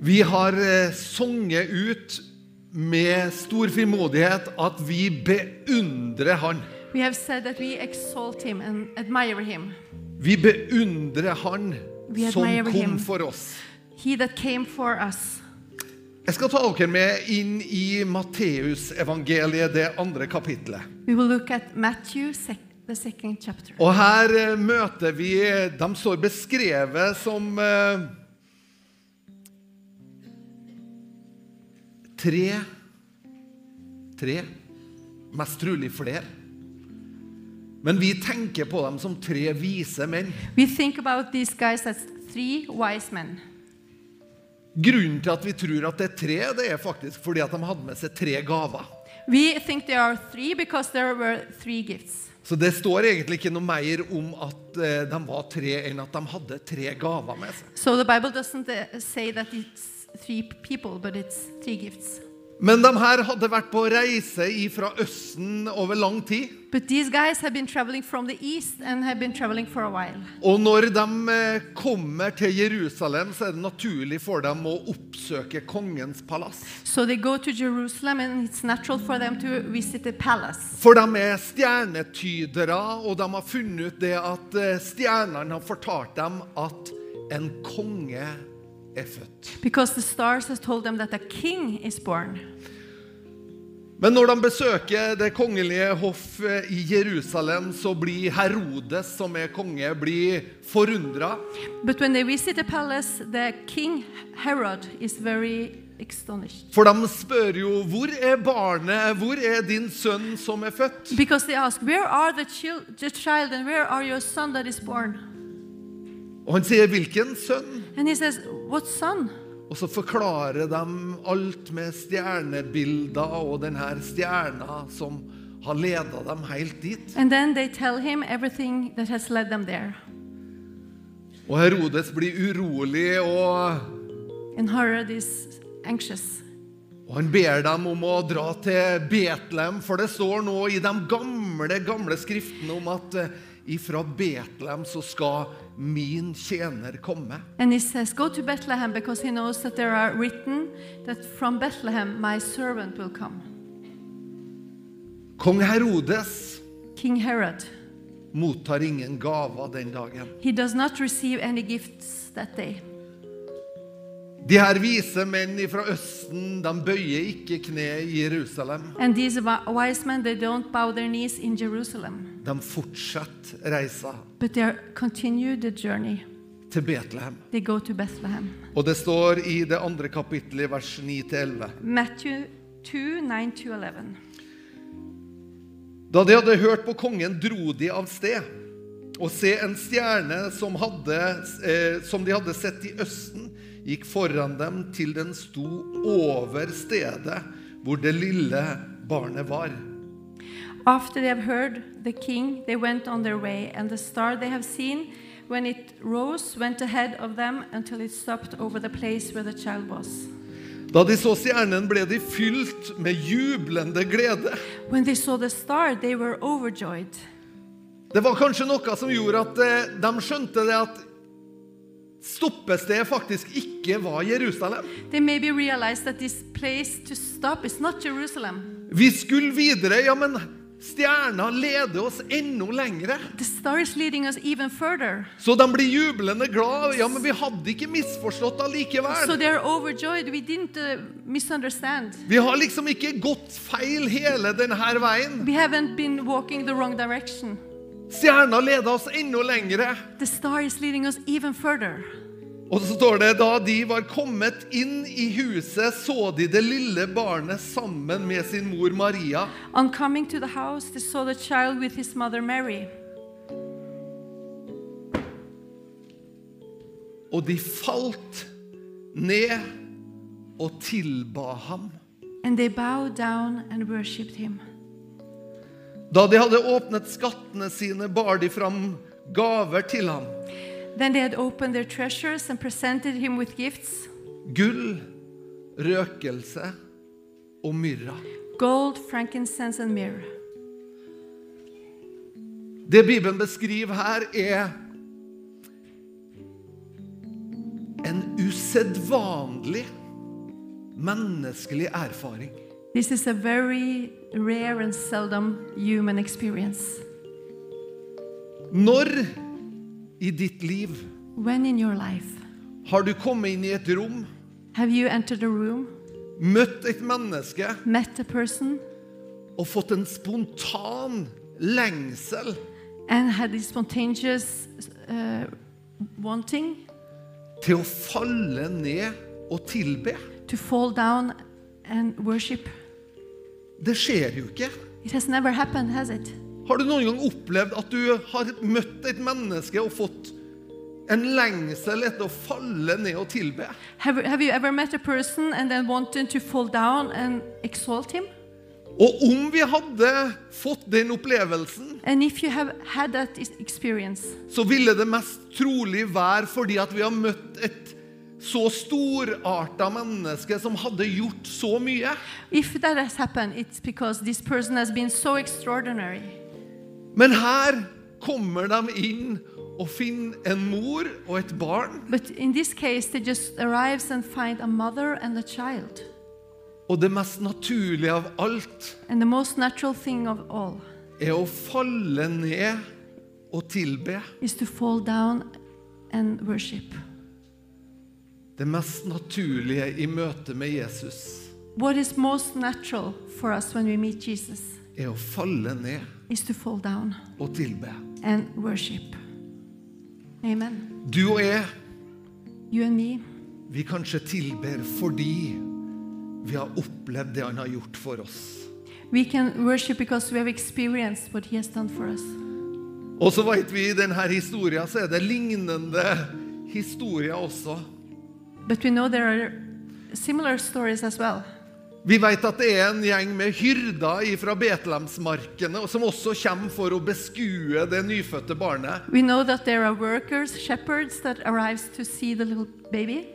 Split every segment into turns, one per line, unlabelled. Vi har eh, sunget ut med stor frimodighet at vi beundrer Han.
We have said that we exalt him and admire him.
Vi beundrer Han
We
som
admire
kom
him.
for oss.
He that came for us.
Jeg skal ta dere med inn i Matteusevangeliet, det andre kapitlet.
We will look at Matthew, sec- the second chapter.
Og her eh, møter vi De står beskrevet som eh, Tre Tre. Mest trolig flere. Men vi tenker på dem som tre vise menn.
We think about these guys as three wise men.
Grunnen til at vi tror at det er tre, det er faktisk fordi at de hadde med seg tre gaver.
We think there are three because there were three gifts.
Så det står egentlig ikke noe mer om at eh, de var tre, enn at de hadde tre gaver med seg.
So the Bible doesn't uh, say that it's three people, but it's three gifts.
Men de her hadde vært på reise fra Østen over lang tid.
But these guys have been traveling from the east and have been traveling for a while.
Og når de eh, kommer til Jerusalem, så er det naturlig for dem å oppsøke kongens palass.
So they go to Jerusalem and it's natural for them to visit the palace.
For de er stjernetydere, og de har funnet ut det at eh, stjernene har fortalt dem at en konge er født.
Because the stars has told them that a king is born.
Men når de besøker det kongelige hoff eh, i Jerusalem, så blir Herodes, som er konge, blir forundra.
But when they visit the palace, the king Herod is very astonished.
For de spør jo hvor er barnet, hvor er din sønn som er født?
Because they ask, Where are the, chil- the child and where are your son that is born?
Og han sier hvilken sønn?
And he says, What son?
Og så forklarer de alt med stjernebilder og den her stjerna som har leda dem helt dit.
And then they tell him everything that has led them there.
Og Herodes blir urolig, og,
And Herod is anxious.
og han ber dem om å dra til Betlehem, for det står nå i de gamle, gamle skriftene om at eh, ifra Betlehem så skal min tjener komme.
And he says, Go to Bethlehem because he knows that there are written that from Bethlehem my servant will come.
Kong Herodes
King Herod.
mottar ingen gaver den dagen.
He does not receive any gifts that day.
De her vise menn fra Østen, de bøyer ikke kne i Jerusalem.
And these wi- wise men, they don't bow their knees in Jerusalem,
De fortsetter reisa
but they are- continue the journey.
til Betlehem.
They go to Bethlehem.
Og det står i det andre kapittelet, vers 9-11.
Matthew 2 9 to 11.
Da de hadde hørt på kongen, dro de av sted. Og se, en stjerne som, hadde, eh, som de hadde sett i Østen, gikk foran dem til den sto over stedet hvor det lille barnet var.
After they have heard the king, they went on their way, and the star they have seen when it rose went ahead of them until it stopped over the place where the child was.
Da de så stjernen, ble de fylt med jublende glede.
When they saw the star, they were overjoyed.
Det var kanskje noe som gjorde at eh, de skjønte det at stoppestedet faktisk ikke var Jerusalem.
They maybe realized that this place to stop is not Jerusalem.
Vi skulle videre, ja, men stjerna leder oss enda lengre.
The star is leading us even further.
Så de blir jublende glad. Ja, men vi hadde ikke misforstått
So
allikevel.
they are overjoyed. We didn't uh, misunderstand.
Vi har liksom ikke gått feil hele denne veien.
We haven't been walking the wrong direction.
Stjerna leda oss enda lengre.
The star is leading us even further.
Og så står det da de var kommet inn i huset, så de det lille barnet sammen med sin mor Maria.
On coming to the house, they saw the child with his mother Mary,
Og de falt ned og tilba ham.
and they bowed down and worshipped him.
Da de hadde åpnet skattene sine, bar de fram gaver til ham.
Then they had opened their treasures and presented him with gifts
Gull, røkelse og myrra.
gold, frankincense, and myrrh.
Det Bibelen beskriver her, er en us usedvanlig menneskelig erfaring.
This is a very rare and seldom human experience.
Når i ditt liv
When in your life
har du kommet inn i et rom,
have you entered a room,
møtt et menneske
met a person,
og fått en spontan lengsel
and had this spontaneous uh, wanting
til å falle ned og tilbe?
to fall down and worship?
Det skjer jo ikke.
It has never happened, has it?
Har du noen gang opplevd at du har møtt et menneske og fått en lengsel etter å falle ned og tilbe?
Have, have you ever met a person and then wanted to fall down and exalt him?
Og om vi hadde fått den opplevelsen,
And if you have had that is- experience,
så ville det mest trolig være fordi at vi har møtt et så storarta menneske som hadde gjort så mye.
if that has happened, it's because this person has been so extraordinary.
Men her kommer de inn og finner en mor og et barn,
But in this case, they just arrives and find a mother and a child.
og det mest naturlige av alt
And the most natural thing of all
er å falle ned og tilbe.
is to fall down and worship.
Det mest naturlige i møte med Jesus
What is most natural for us when we meet Jesus
er å falle ned
is to fall down
og tilbe.
and worship. Amen.
Du og jeg
You and me,
vi kanskje tilber fordi vi har opplevd det han har gjort for oss.
we can worship because we have experienced what He has done for us.
Og så vet vi i denne historien så er det lignende historier også.
But we know there are similar stories as well.
Vi vet at det er en gjeng med hyrder fra Betlehemsmarkene og som også kommer for å beskue det nyfødte barnet.
We know that there are workers, shepherds that arrives to see the little baby.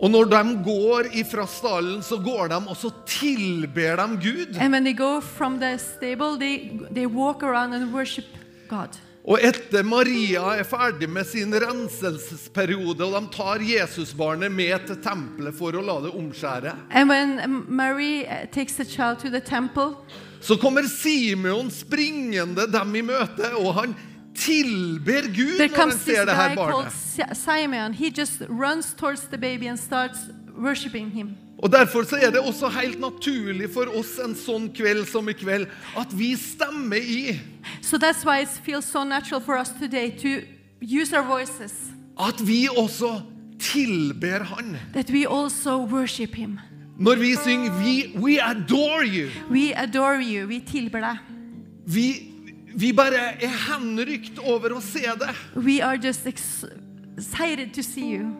Og når de går ifra stallen, så går de og så tilber de Gud.
And when they go from the stable, they, they walk around and worship God.
Og etter Maria er ferdig med sin renselsesperiode, og de tar Jesusbarnet med til tempelet for å la det omskjære,
And when um, Mary uh, takes the child to the temple,
Så kommer Simeon springende dem i møte, og han tilber Gud
there
når han
comes this
ser det her
guy called
barnet.
Si- Simon. He just runs towards the baby and starts worshiping him.
Og Derfor så er det også helt naturlig for oss en sånn kveld som i kveld at vi stemmer i
So that's why it feels so natural for us today to use our voices,
at vi også tilber Han.
that we also worship him.
Når vi synger vi, 'We adore you',
We adore you. Vi tilber deg.
vi, vi bare er henrykt over å se det.
We are just ex excited to see you.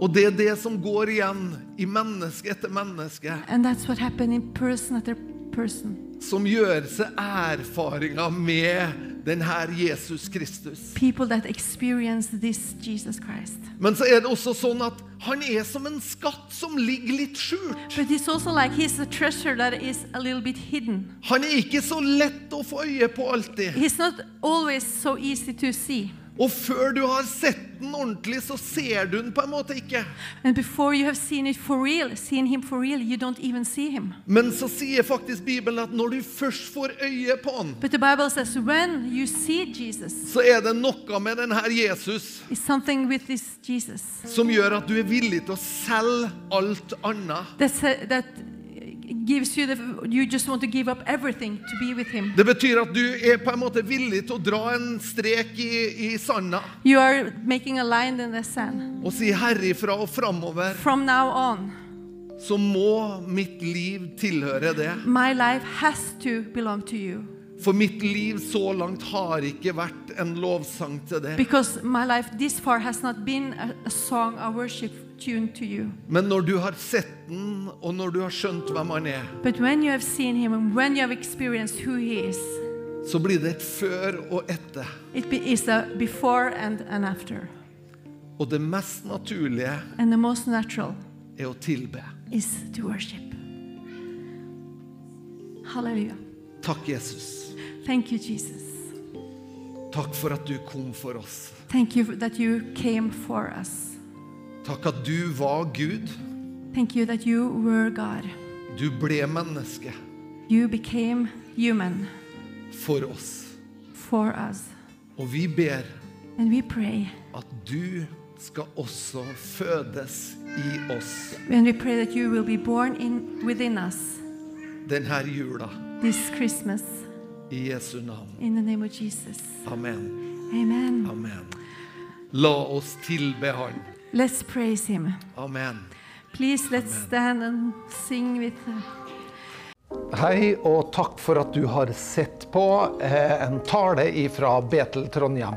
Og det er det som går igjen i menneske etter menneske,
And that's what happened in person after person.
som gjør seg erfaringer med denne Jesus Kristus.
people that experience this Jesus Christ.
Men så er det også sånn at han er som en skatt som ligger litt skjult.
But it's also like he's a treasure that is a little bit hidden.
Han er ikke så lett å få øye på alltid.
He's not always so easy to see.
Og før du har sett den ordentlig, så ser du den på en måte ikke.
And before you have seen it for real, seen him for real, you don't even see him.
Men så sier faktisk Bibelen at når du først får øye på han,
But the Bible says when you see Jesus,
så er det noe med denne Jesus
it's something with this Jesus
som gjør at du er villig til å selge alt annet.
that sa- that gives you the you just want to give up everything to be with him.
Det betyr at du er på en måte villig til å dra en strek i, i sanda
You are making a line in the sand.
og si herifra og framover,
From now on,
så må mitt liv tilhøre det.
my life has to belong to you.
For mitt liv så langt har ikke vært en lovsang til det.
Because my life this far has not been a, a song of worship tuned to you.
Men når du har sett den, og når du har skjønt hvem han er,
But when you have seen him and when you have experienced who he is,
så blir det et før og etter.
it be, is a before and an after.
Og det mest naturlige
And the most natural
er å tilbe.
is to worship. Hallelujah.
Takk, Jesus.
Thank you, Jesus.
Takk for at du kom for oss.
Thank you that you came for us.
Takk at du var Gud.
Thank you that you were God.
Du ble menneske
You became human
for oss.
for us.
Og vi ber
And we pray.
at du skal også fødes i oss
And we pray that you will be born in within us
denne jula.
this Christmas
I Jesu navn.
in the name of Jesus.
Amen.
Amen.
Amen. La oss tilbe Han.
Let's praise him.
Amen.
Please let's stand and sing with uh,
Hei, og takk for at du har sett på eh, en tale fra Betel Trondheim.